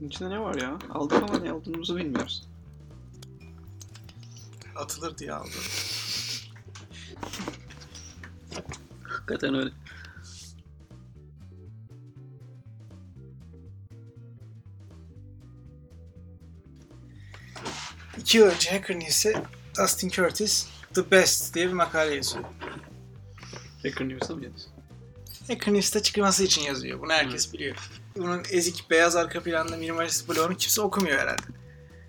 Bunun içinde ne var ya? Aldık ama ne aldığımızı bilmiyoruz. Atılır diye aldım. Hakikaten öyle. İki yıl önce Hacker News'e Dustin Curtis The Best diye bir makale yazıyor. Hacker News'a mı geldi? Hacker News'te çıkması için yazıyor. Bunu herkes biliyor. Bunun ezik beyaz arka planda minimalist bloğunu kimse okumuyor herhalde.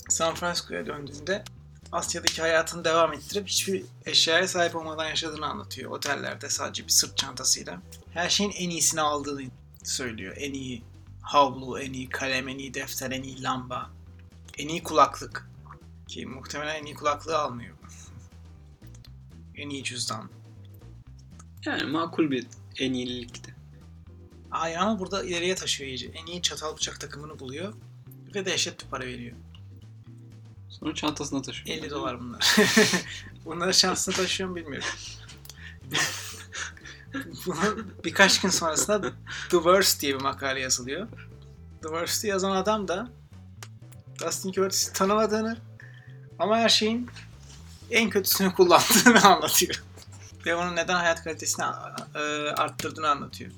San Francisco'ya döndüğünde Asya'daki hayatını devam ettirip hiçbir eşyaya sahip olmadan yaşadığını anlatıyor. Otellerde sadece bir sırt çantasıyla. Her şeyin en iyisini aldığını söylüyor. En iyi havlu, en iyi kalem, en iyi defter, en iyi lamba, en iyi kulaklık. Ki muhtemelen en iyi kulaklığı almıyor. en iyi cüzdan. Yani makul bir en iyilikti. Hayır ama burada ileriye taşıyor iyice. En iyi çatal bıçak takımını buluyor ve dehşet bir para veriyor. Sonra çantasına taşıyor. 50 dolar bunlar. Bunlara şansını taşıyor mu bilmiyorum. Bunun birkaç gün sonrasında The Worst diye bir makale yazılıyor. The Worst'ı yazan adam da Dustin Curtis'i tanımadığını ama her şeyin en kötüsünü kullandığını anlatıyor. Ve onun neden hayat kalitesini e, arttırdığını anlatıyor.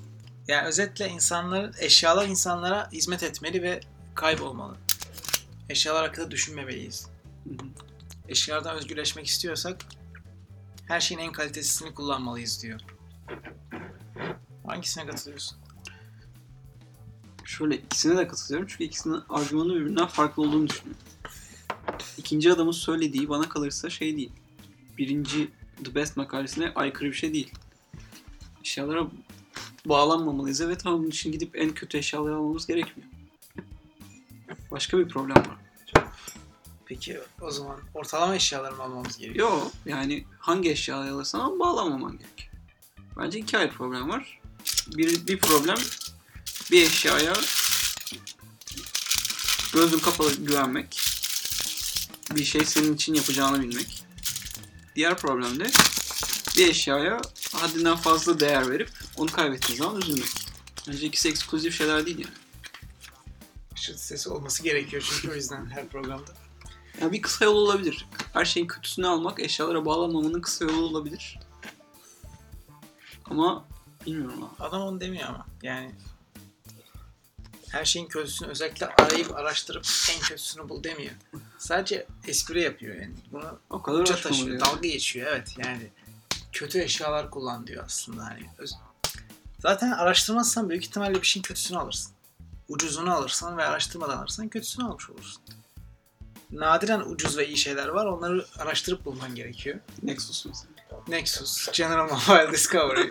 Yani özetle insanlar, eşyalar insanlara hizmet etmeli ve kaybolmalı. Eşyalar hakkında düşünmemeliyiz Hı hı. eşyalardan özgürleşmek istiyorsak her şeyin en kalitesini kullanmalıyız diyor. Hangisine katılıyorsun? Şöyle ikisine de katılıyorum çünkü ikisinin argümanı birbirinden farklı olduğunu düşünüyorum. İkinci adamın söylediği bana kalırsa şey değil. Birinci The Best makalesine aykırı bir şey değil. Eşyalara bağlanmamalıyız. Evet ama bunun için gidip en kötü eşyaları almamız gerekmiyor. Başka bir problem var. Peki o zaman ortalama eşyaları mı almamız gerekiyor? Yo yani hangi eşyaları alırsan bağlamaman gerek. Bence iki ayrı problem var. Bir, bir problem bir eşyaya gözün kapalı güvenmek. Bir şey senin için yapacağını bilmek. Diğer problem de bir eşyaya haddinden fazla değer verip onu kaybettiğin zaman üzülmek. Bence ikisi eksklusif şeyler değil yani. Işıt sesi olması gerekiyor çünkü o yüzden her programda. Ya bir kısa yol olabilir. Her şeyin kötüsünü almak eşyalara bağlanmamanın kısa yolu olabilir. Ama bilmiyorum abi. Adam onu demiyor ama yani her şeyin kötüsünü özellikle arayıp araştırıp en kötüsünü bul demiyor. Sadece espri yapıyor yani. Bunu O kadar Uça uğraşmamalı yani. taşıyor, dalga geçiyor evet yani. Kötü eşyalar kullan diyor aslında hani. Öz- Zaten araştırmazsan büyük ihtimalle bir şeyin kötüsünü alırsın. Ucuzunu alırsan ve araştırmadan alırsan kötüsünü almış olursun. Nadiren ucuz ve iyi şeyler var. Onları araştırıp bulman gerekiyor. Nexus mesela. Nexus, General Mobile Discovery.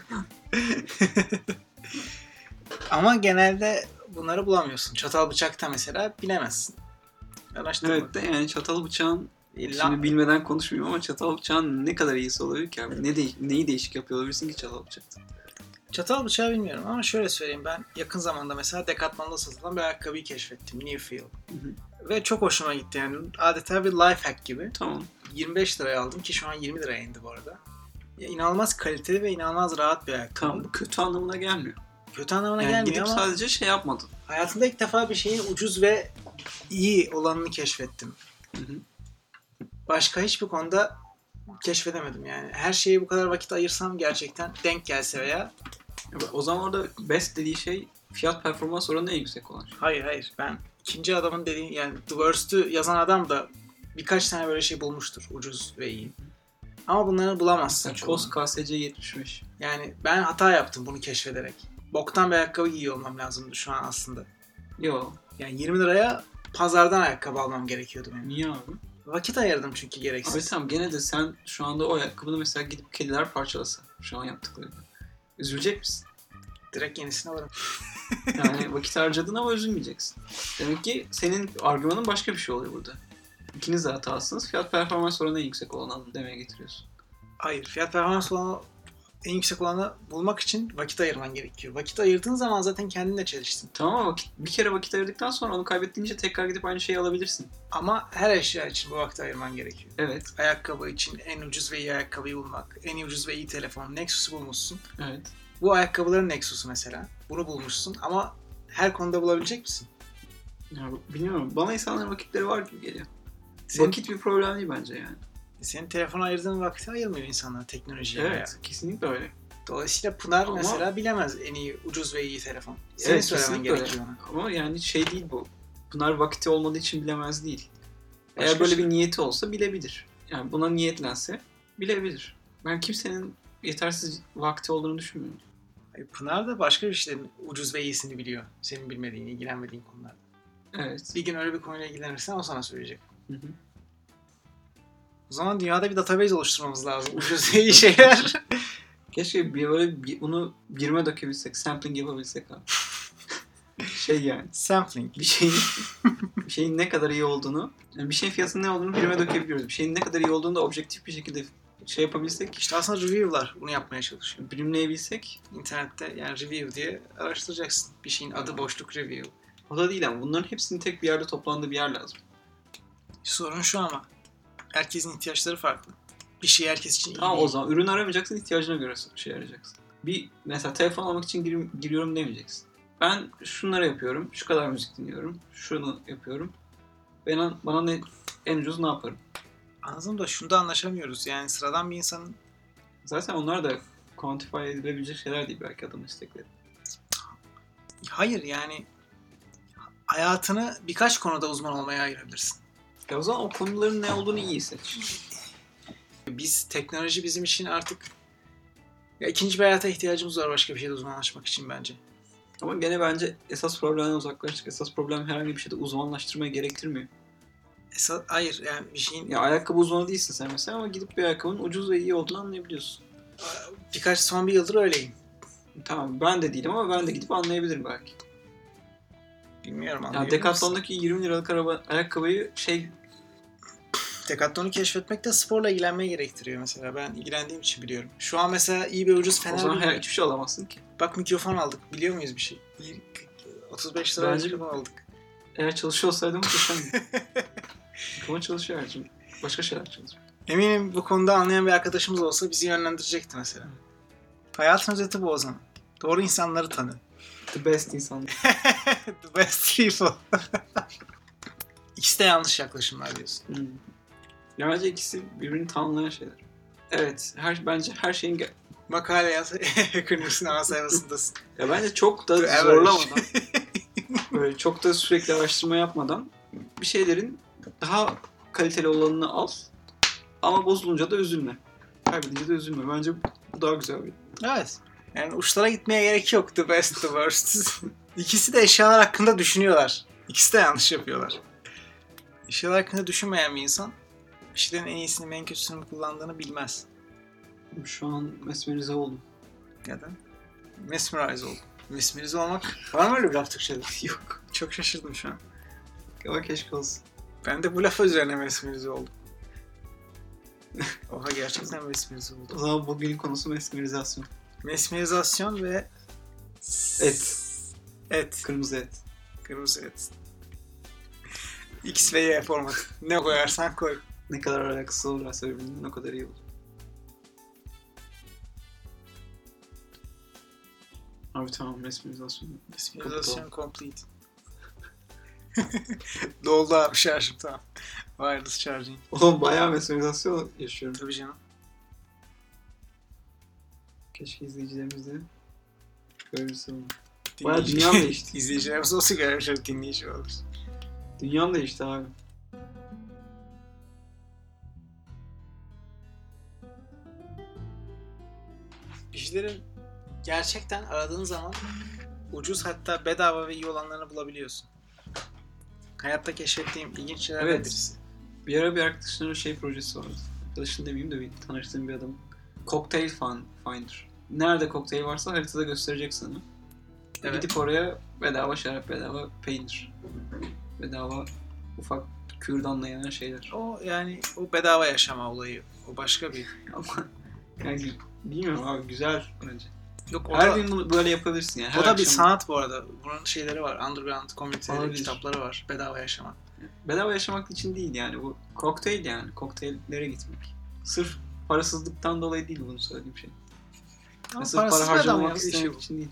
Ama genelde bunları bulamıyorsun. Çatal bıçakta mesela bilemezsin. Araştırma. Evet de yani çatal bıçağın İlla- Şimdi bilmeden konuşmuyorum ama çatal bıçağın ne kadar iyisi olabilir ki abi? Ne de, neyi değişik yapıyor olabilirsin ki çatal bıçakta? Çatal bıçağı bilmiyorum ama şöyle söyleyeyim ben yakın zamanda mesela Decathlon'da satılan bir ayakkabıyı keşfettim. Newfield. Ve çok hoşuma gitti yani adeta bir life hack gibi. Tamam. 25 liraya aldım ki şu an 20 liraya indi bu arada. Ya inanılmaz kaliteli ve inanılmaz rahat bir ayakkabı. Tamam bu kötü anlamına gelmiyor. Kötü anlamına Yani gelmiyor gidip ama sadece şey yapmadın. hayatımda ilk defa bir şeyin ucuz ve iyi olanını keşfettim. Hı hı. Başka hiçbir konuda keşfedemedim yani. Her şeye bu kadar vakit ayırsam gerçekten denk gelse veya Ya bak, O zaman orada best dediği şey fiyat performans oranı en yüksek olan şey. Hayır hayır ben ikinci adamın dediği yani The Worst'ü yazan adam da birkaç tane böyle şey bulmuştur ucuz ve iyi. Ama bunları bulamazsın Mesela çoğunu. Kos KSC 75. Yani ben hata yaptım bunu keşfederek. Boktan bir ayakkabı giyiyor olmam lazımdı şu an aslında. Yo. Yani 20 liraya pazardan ayakkabı almam gerekiyordu benim. Niye abi? Vakit ayırdım çünkü Abi gereksiz. tamam gene de sen şu anda o ayakkabını mesela gidip kediler parçalasa şu an yaptıklarını. Üzülecek misin? Direkt yenisini alırım. Yani vakit harcadın ama üzülmeyeceksin. Demek ki senin argümanın başka bir şey oluyor burada. İkiniz de hatasınız. Fiyat performans oranı en yüksek olan alın demeye getiriyorsun. Hayır fiyat performans olanı en yüksek olanı bulmak için vakit ayırman gerekiyor. Vakit ayırdığın zaman zaten kendinle çeliştin. Tamam ama vakit, bir kere vakit ayırdıktan sonra onu kaybettiğince tekrar gidip aynı şeyi alabilirsin. Ama her eşya için bu vakti ayırman gerekiyor. Evet. Ayakkabı için en ucuz ve iyi ayakkabıyı bulmak, en ucuz ve iyi telefon, Nexus'u bulmuşsun. Evet. Bu ayakkabıların Nexus'u mesela. Bunu bulmuşsun ama her konuda bulabilecek misin? Ya, bilmiyorum. Bana insanların vakitleri var gibi geliyor. Senin, Vakit bir problem değil bence yani. senin telefona ayırdığın vakti ayırmıyor insanlar teknolojiye. Evet. Kesinlikle öyle. Dolayısıyla Pınar Ama- mesela bilemez en iyi ucuz ve iyi telefon. Senin Evet, söylemen kesinlikle öyle. gerekiyor ona. Ama yani şey değil bu. Pınar vakti olmadığı için bilemez değil. Eğer Başka böyle şey- bir niyeti olsa bilebilir. Yani buna niyetlense bilebilir. Ben kimsenin yetersiz vakti olduğunu düşünmüyorum. Ay, Pınar da başka bir şeylerin ucuz ve iyisini biliyor. Senin bilmediğin, ilgilenmediğin konularda. Evet. Bir gün öyle bir konuyla ilgilenirsen o sana söyleyecek. Hı hı. O zaman dünyada bir database oluşturmamız lazım. Ucuz ve iyi şeyler. Keşke bir böyle bir, bunu birime dökebilsek, sampling yapabilsek abi. şey yani. Sampling. Bir şeyin bir şeyin ne kadar iyi olduğunu, yani bir şeyin fiyatının ne olduğunu birime dökebiliyoruz. Bir şeyin ne kadar iyi olduğunu da objektif bir şekilde şey yapabilsek, İşte aslında review'lar bunu yapmaya çalışıyor. birimleyebilsek İnternette yani review diye araştıracaksın. Bir şeyin adı boşluk review. o da değil ama bunların hepsinin tek bir yerde toplandığı bir yer lazım. Sorun şu ama. Herkesin ihtiyaçları farklı. Bir şey herkes için iyi Tamam o değil. zaman ürün aramayacaksın, ihtiyacına göre şey arayacaksın. Bir mesela telefon almak için girim- giriyorum demeyeceksin. Ben şunları yapıyorum, şu kadar müzik dinliyorum, şunu yapıyorum. Bana, bana ne, en ucuz ne yaparım? Anladım da şunda anlaşamıyoruz. Yani sıradan bir insanın Zaten onlar da quantify edilebilecek şeyler değil belki adamın istekleri. hayır yani hayatını birkaç konuda uzman olmaya ayırabilirsin. Ya o zaman o konuların ne olduğunu iyi seç. Biz teknoloji bizim için artık ya ikinci bir hayata ihtiyacımız var başka bir şeyde uzmanlaşmak için bence. Ama gene bence esas problemden uzaklaştık. Esas problem herhangi bir şeyde uzmanlaştırmaya gerektirmiyor. Esa, hayır yani bir şeyin Ya ayakkabı uzmanı değilsin sen mesela ama gidip bir ayakkabının ucuz ve iyi olduğunu anlayabiliyorsun. birkaç son bir yıldır öyleyim. Tamam ben de değilim ama ben de gidip anlayabilirim belki. Bilmiyorum Ya anlayabiliyor musun? Decathlon'daki 20 liralık araba, ayakkabıyı şey Decathlon'u keşfetmek de sporla ilgilenmeye gerektiriyor mesela. Ben ilgilendiğim için biliyorum. Şu an mesela iyi bir ucuz o fener zaman her, buluyorum. hiçbir şey alamazsın ki. Bak mikrofon aldık. Biliyor muyuz bir şey? İyi- 35 lira Bence- mikrofon aldık. Eğer çalışıyor olsaydım muhteşem. Ama çalışıyor her şey. Başka şeyler çalışıyor. Eminim bu konuda anlayan bir arkadaşımız olsa bizi yönlendirecekti mesela. Hayatın özeti bu o zaman. Doğru insanları tanı. The best insan. The best people. İkisi de yanlış yaklaşımlar diyorsun. Hmm. Ya bence ikisi birbirini tamamlayan şeyler. Evet, her bence her şeyin ge- Makale yaz. Ekonomisin ana sayfasındasın. ya bence çok da The average. zorlamadan böyle çok da sürekli araştırma yapmadan bir şeylerin daha kaliteli olanını al ama bozulunca da üzülme. Kaybedince de üzülme. Bence bu daha güzel bir. evet. Yani uçlara gitmeye gerek yok. The best, the worst. İkisi de eşyalar hakkında düşünüyorlar. İkisi de yanlış yapıyorlar. Eşyalar hakkında düşünmeyen bir insan bir şeylerin en iyisini ve en kötüsünü kullandığını bilmez. Şu an mesmerize oldum. Neden? Mesmerize oldum. Mesmerize olmak var mı öyle bir laf Türkçe'de? Yok. Çok şaşırdım şu an. Ama keşke olsun. Ben de bu lafa üzerine mesmerize oldum. Oha gerçekten mesmerize oldum. O zaman bugünün konusu mesmerizasyon. Mesmerizasyon ve... Et. Et. Kırmızı et. Kırmızı et. X ve Y format. Ne koyarsan koy. Ne kadar alakası olursa birbirinden o kadar iyi olur. Abi tamam mesmerizasyon. Mesmerizasyon complete. Doldu abi şarjım tamam. Wireless charging. Oğlum bayağı mesmerizasyon yaşıyorum. Tabii canım. Keşke izleyicilerimiz de görebilse bunu. Bayağı dünyam değişti. İzleyicilerimiz olsa görmüşler dinleyici olur. Dünyam değişti abi. Bir şeyleri gerçekten aradığın zaman ucuz hatta bedava ve iyi olanlarını bulabiliyorsun. Hayatta keşfettiğim ilginç şeylerden Evet. birisi. Bir ara bir arkadaşımın şey projesi vardı. Arkadaşın demeyeyim de bir tanıştığım bir adam. Cocktail fan, Finder. Nerede kokteyl varsa haritada gösterecek sana. Evet. Gidip oraya bedava şarap, bedava peynir. Bedava ufak kürdanla yanan şeyler. O yani o bedava yaşama olayı. O başka bir. Ama yani bilmiyorum abi güzel bence. Yok o her da, gün bunu böyle yapabilirsin yani. Her o da bir akşam- sanat bu arada. Bunun şeyleri var. Underground komüniteleri, Olabilir. kitapları var. Bedava yaşama. bedava yaşamak için değil yani bu kokteyl yani kokteyllere gitmek. Sırf parasızlıktan dolayı değil bunu söylediğim şey. Ama Mesela parasız para bedava şey harcamak işi istemek bu. için değil.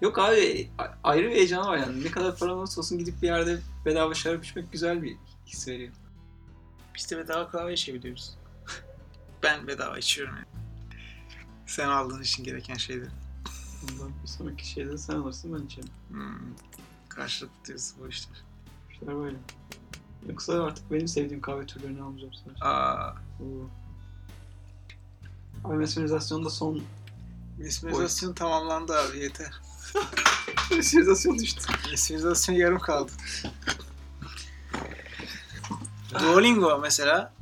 Yok abi a- ayrı bir heyecan var yani. Ne kadar paran olursa olsun gidip bir yerde bedava şarap içmek güzel bir his veriyor. Biz de bedava kahve içebiliyoruz. ben bedava içiyorum yani. Sen aldığın için gereken şeyleri. Ondan bir sonraki şeyde sen alırsın ben içerim. Hmm. Karşılıklı tutuyorsun bu işler. İşler böyle. Yoksa artık benim sevdiğim kahve türlerini almayacağım sana. Aa, Oo. Abi mesmerizasyonda son mesmerizasyon tamamlandı abi yeter. mesmerizasyon düştü. Mesmerizasyon yarım kaldı. Duolingo mesela.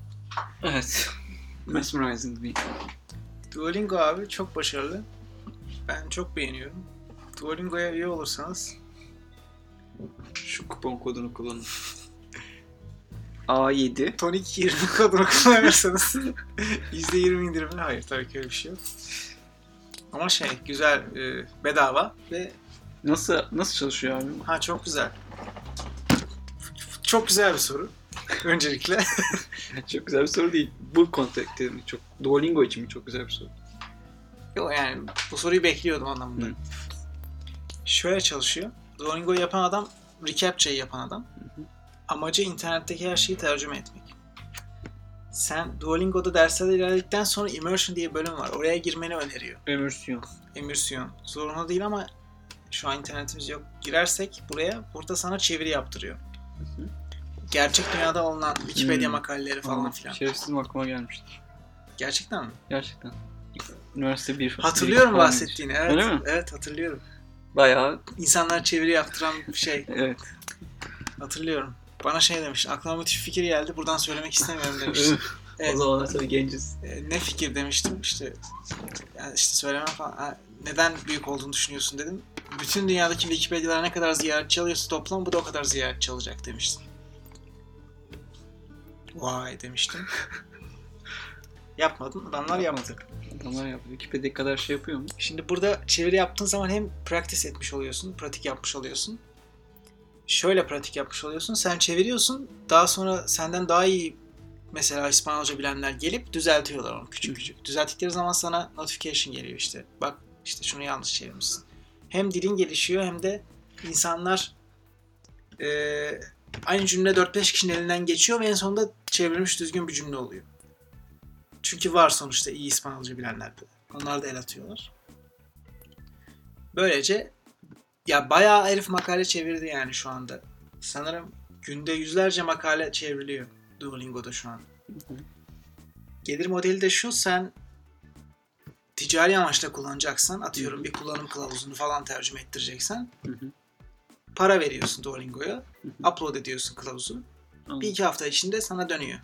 Evet. Mesmerizing me. Duolingo abi çok başarılı. Ben çok beğeniyorum. Duolingo'ya üye olursanız Şu kupon kodunu kullanın. A7. tonik 20 kadro kullanırsanız %20 indirimli. Hayır tabii ki öyle bir şey yok. Ama şey güzel e, bedava ve Nasıl nasıl çalışıyor abi? ha çok güzel. Çok güzel bir soru. Öncelikle. çok güzel bir soru değil. Bu kontekte mi çok? Duolingo için mi çok güzel bir soru? Yok yani bu soruyu bekliyordum anlamında. Hı. Şöyle çalışıyor. Duolingo yapan adam, ReCAPTCHA'yı yapan adam. Amacı internetteki her şeyi tercüme etmek. Sen Duolingo'da derslerde ilerledikten sonra Immersion diye bir bölüm var. Oraya girmeni öneriyor. Emürsyon. Emisyon. Zorunlu değil ama şu an internetimiz yok. Girersek buraya burada sana çeviri yaptırıyor. hı. Gerçek dünyada olunan Wikipedia Hmm. makaleleri falan filan. Şerefsizim aklıma gelmişti. Gerçekten mi? Gerçekten. Üniversite bir Hatırlıyorum bir falan bahsettiğini. Evet. Öyle mi? Evet hatırlıyorum. demiş. Bayağı İnsanlar çeviri yaptıran bir şey. evet. Hatırlıyorum. Bana şey demiş. Aklıma müthiş bir fikir geldi. Buradan söylemek istemiyorum demiştim. Evet. O zamanlar tabii genciz. E, ne fikir demiştim. İşte yani işte söylemem falan. Ha, neden büyük olduğunu düşünüyorsun dedim. Bütün dünyadaki Wikipedia'lar ne kadar ziyaretçi alıyorsa toplam bu da o kadar ziyaretçi alacak demiştim. Vay demiştim. Yapmadın. Adamlar yapmadı. Adamlar yaptı. Wikipedia kadar şey yapıyor mu? Şimdi burada çeviri yaptığın zaman hem practice etmiş oluyorsun, pratik yapmış oluyorsun. Şöyle pratik yapmış oluyorsun. Sen çeviriyorsun. Daha sonra senden daha iyi mesela İspanyolca bilenler gelip düzeltiyorlar onu küçük Hı. küçük. Düzelttikleri zaman sana notification geliyor işte. Bak işte şunu yanlış çevirmişsin. Hem dilin gelişiyor hem de insanlar eee, e, aynı cümle 4-5 kişinin elinden geçiyor ve en sonunda çevrilmiş düzgün bir cümle oluyor. Çünkü var sonuçta iyi İspanyolca bilenler de. Onlar da el atıyorlar. Böylece ya bayağı herif makale çevirdi yani şu anda. Sanırım günde yüzlerce makale çevriliyor Duolingo'da şu an. hı. Gelir modeli de şu sen ticari amaçla kullanacaksan atıyorum bir kullanım kılavuzunu falan tercüme ettireceksen Hı hı. para veriyorsun Duolingo'ya. Hı hı. Upload ediyorsun kılavuzu. Bir iki hafta içinde sana dönüyor.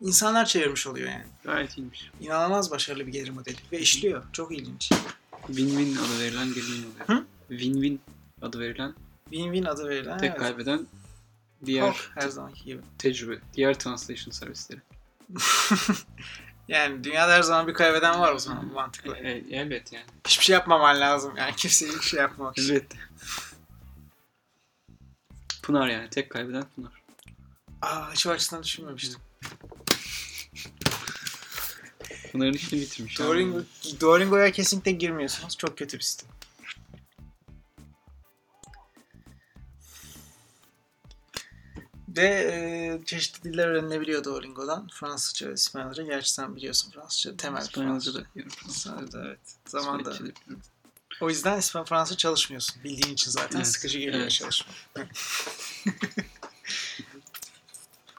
İnsanlar çevirmiş oluyor yani. Gayet iyiymiş. İnanılmaz başarılı bir gelir modeli. Ve işliyor. Çok ilginç. Win-win adı verilen gelin oluyor. Hı? Win-win adı verilen Win-win adı verilen. tek evet. Oh. kaybeden diğer Kork her zamanki gibi. tecrübe, diğer translation servisleri. Yani dünyada her zaman bir kaybeden var o zaman bu E, mantıkla. e, elbet yani. Hiçbir şey yapmaman lazım. Yani kimseye hiçbir şey yapmamak için. Elbet. Pınar yani. Tek kaybeden Pınar. Aa hiç o açıdan düşünmemiştim. Pınar'ın işini bitirmiş. Duolingo, Yani. Duolingo'ya kesinlikle girmiyorsunuz. Çok kötü bir sistem. Ve e, çeşitli diller öğrenilebiliyor Duolingo'dan. Fransızca, İspanyolca. Gerçi sen biliyorsun Fransızca. Temel İspanyolca da Fransızca. biliyorum. Fransızca da evet. Zamanda. İsveççe de biliyorum. O yüzden İspanyol Fransa çalışmıyorsun. Bildiğin için zaten Evet, sıkıcı geliyor evet. çalışma.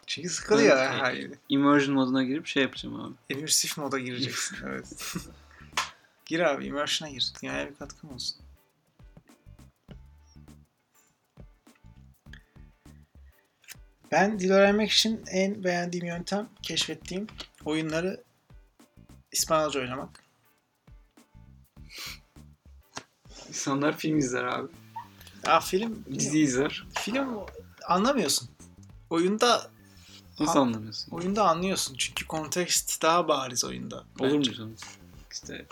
Çünkü sıkılıyor Ben- her her yeri. Immersion moduna girip şey yapacağım abi. Immersif moda gireceksin. evet. gir abi immersion'a gir. Dünyaya bir katkın olsun. Ben dil öğrenmek için en beğendiğim yöntem keşfettiğim oyunları İspanyolca oynamak. İnsanlar film izler abi. Aa film Dizi izler. film anlamıyorsun. Oyunda Nasıl Ha, anlamıyorsun? oyunda anlıyorsun çünkü kontekst daha bariz oyunda. Olur mu bence. canım? İşte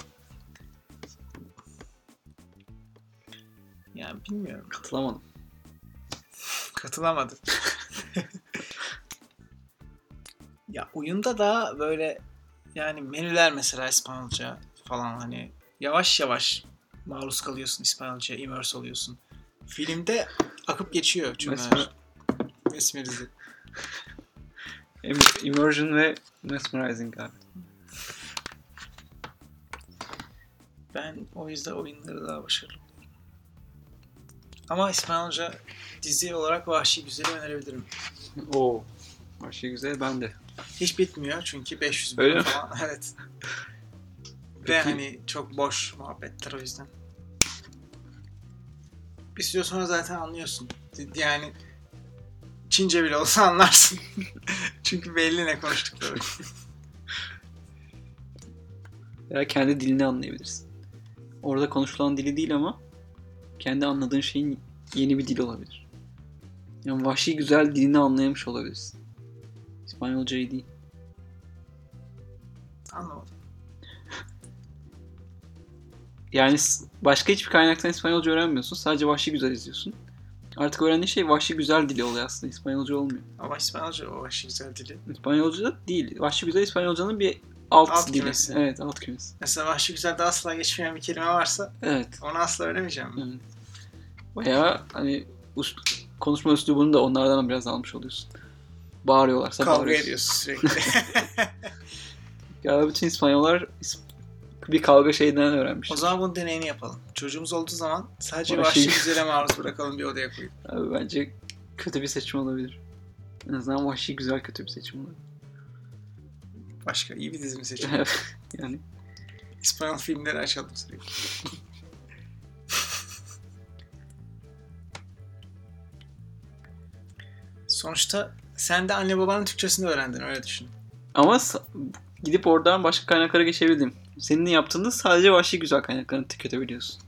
Yani bilmiyorum. katılamadım. Katılamadım. ya oyunda daha böyle yani menüler mesela İspanyolca falan hani yavaş yavaş maruz kalıyorsun İspanyolca, immerse oluyorsun. Filmde akıp geçiyor cümleler. Mesmer- Mesmerize. Im- Immersion ve mesmerizing abi. Ben o yüzden oyunları daha başarılı buluyorum. Ama İspanyolca dizi olarak Vahşi Güzel'i önerebilirim. Oo. Her şey güzel ben de. Hiç bitmiyor çünkü 500 Öyle bölüm mi? falan. Evet. Ve Peki. hani çok boş muhabbetler o yüzden. Bir süre sonra zaten anlıyorsun. Yani Çince bile olsa anlarsın. çünkü belli ne konuştukları. Veya kendi dilini anlayabilirsin. Orada konuşulan dili değil ama kendi anladığın şeyin yeni bir dil olabilir. Yani vahşi güzel dilini anlayamış olabilirsin. İspanyolcayı değil. Anlamadım. Yani s- başka hiçbir kaynaktan İspanyolca öğrenmiyorsun. Sadece vahşi güzel izliyorsun. Artık öğrendiğin şey vahşi güzel dili oluyor aslında. İspanyolca olmuyor. Ama İspanyolca o Vahşi Güzel dili. İspanyolca değil. Vahşi güzel İspanyolcanın bir alt, Alt dili. kümesi. Evet alt kümesi. Mesela Vahşi Güzel'de asla geçmeyen bir kelime varsa Evet. onu asla öğrenemeyeceğim. evet. Veya hani us- konuşma üslubunu da onlardan biraz almış oluyorsun. Bağırıyorlarsa Kavga bağırıyorsun. ediyorsun sürekli. Ya bütün İspanyollar is- bir kavga şeyinden öğrenmiş. o zaman bunun deneyini yapalım. Çocuğumuz olduğu zaman sadece Vahşi- Vahşi Güzel'e maruz bırakalım bir odaya koyup. Abi bence kötü bir seçim olabilir. En azından vahşi güzel kötü bir seçim olabilir. Başka iyi bir dizi mi seçelim? yani İspanyol filmleri açalım sürekli. Sonuçta sen de anne babanın Türkçesini öğrendin öyle düşün. Ama sa- gidip oradan başka kaynaklara geçebildim. Senin yaptığında sadece vahşi güzel kaynaklarını tüketebiliyorsun.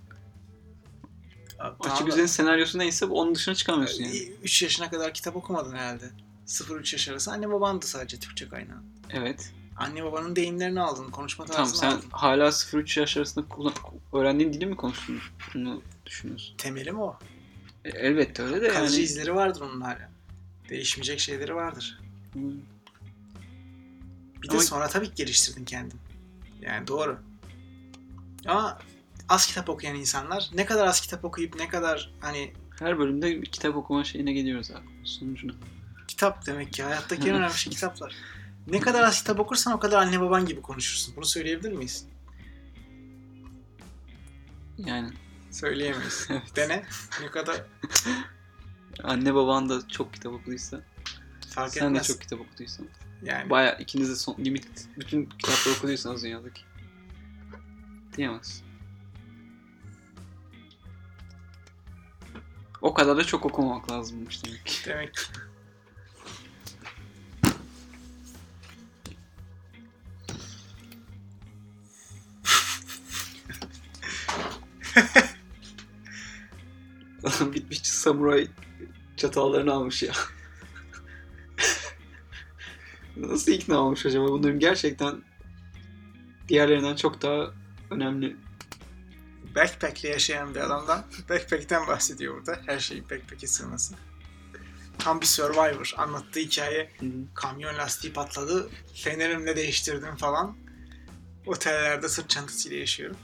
Tamam Vahşi da- güzelin senaryosu neyse onun dışına çıkamıyorsun yani. 3 yaşına kadar kitap okumadın herhalde. 0-3 yaş arası anne babandı sadece Türkçe kaynağı. Evet. Anne babanın deyimlerini aldın, konuşma Tamam tarzını sen aldın. hala 0-3 yaş arasında kullan- öğrendiğin dili mi konuştun? Bunu düşünüyorsun. Temeli mi o? E, elbette öyle de Kalıcı yani. izleri vardır onun hala. Değişmeyecek şeyleri vardır. Hmm. Bir Ama- de sonra tabii ki geliştirdin kendin. Yani doğru. Ama az kitap okuyan insanlar ne kadar az kitap okuyup ne kadar hani Her bölümde bir kitap okuma şeyine geliyoruz abi. Sonucuna. kitap demek ki hayattaki en önemli şey kitaplar. Ne kadar az kitap okursan o kadar anne baban gibi konuşursun. Bunu söyleyebilir miyiz? Yani Söyleyemeyiz. Dene. Ne kadar anne baban da çok kitap okuduysa, fark sen etmez. de çok kitap okuduysan. Yani Baya ikiniz de son limit bütün kitapları okuduysanız dünyadaki. Diyemez. O kadar da çok okumamak lazımmış demek ki. demek ki. Adam bitmiş samuray çatallarını almış ya. Nasıl ikna olmuş acaba? Bunların gerçekten diğerlerinden çok daha önemli. backpack'le yaşayan bir adamdan backpack'ten bahsediyor burada. Her şeyi backpack'e sığması. Tam bir survivor. Anlattığı hikaye kamyon lastiği patladı. Fenerimle değiştirdim falan. Otellerde sırt çantasıyla yaşıyorum.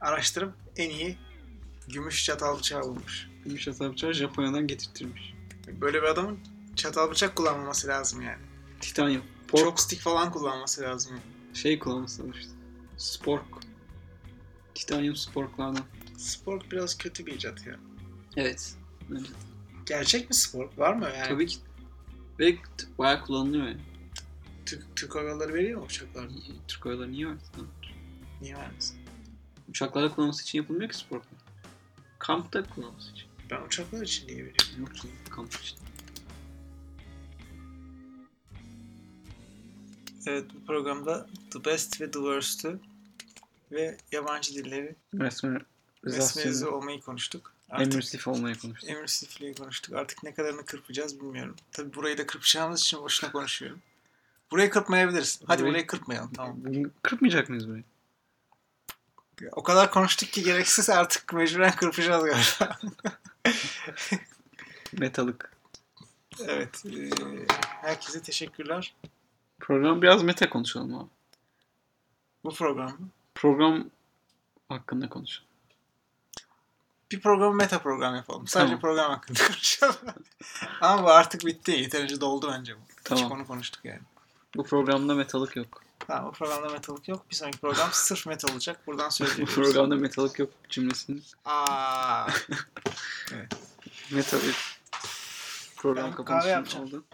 Araştırıp en iyi gümüş çatal bıçağı bulmuş. Gümüş Asapçılar şey Japonya'dan getirtirmiş. Böyle bir adamın çatal bıçak kullanmaması lazım yani. Titanyum. Pork Çok stick falan kullanması lazım. Yani. şey kullanması lazım işte. Spork. Titanyum sporklardan. Spor biraz kötü bir icat ya. Evet. Öyle. Gerçek mi spor? Var mı yani? Tabii ki. Ve t- bayağı kullanılıyor yani. Türk, Türk Hava Yolları veriyor mu uçaklarda? Türk Hava Yolları niye öyle? Niye vermesin? Uçaklarda kullanılması için yapılmıyor ki sporklar. Kampta kullanılması için. Ben uçaklar için diye biliyorum. Yok ki kamp için. Evet bu programda The Best ve The Worst'ü ve yabancı dilleri resmenize olmayı konuştuk. Artık olmaya konuştuk. emirsifliği konuştuk. Artık ne kadarını kırpacağız bilmiyorum. Tabii burayı da kırpacağımız için boşuna konuşuyorum. Burayı kırpmayabiliriz. Hadi Burayı- burayı kırpmayalım tamam. Bugün kırpmayacak mıyız burayı? O kadar konuştuk ki gereksiz artık mecburen kırpacağız galiba. Metalık. evet. eee, herkese teşekkürler. Program biraz meta konuşalım abi. Bu program Program hakkında konuşalım. bir programı meta program yapalım. Sadece Tamam. program hakkında konuşalım. Ama bu artık bitti. Yeterince doldu bence bu. Tamam. Hiç konu konuştuk yani. Bu programda metalık yok. Tamam bu programda metalık yok. Bir sonraki program sırf metal olacak. Buradan Bu söylüyoruz. programda metalık yok cümlesini. Aa, Meta bir program Ben kahve kapanışı yapacağım. oldu.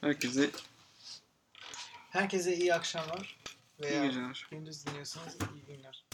Herkese herkese iyi akşamlar. iyi Veya geceler. gündüz dinliyorsanız iyi günler.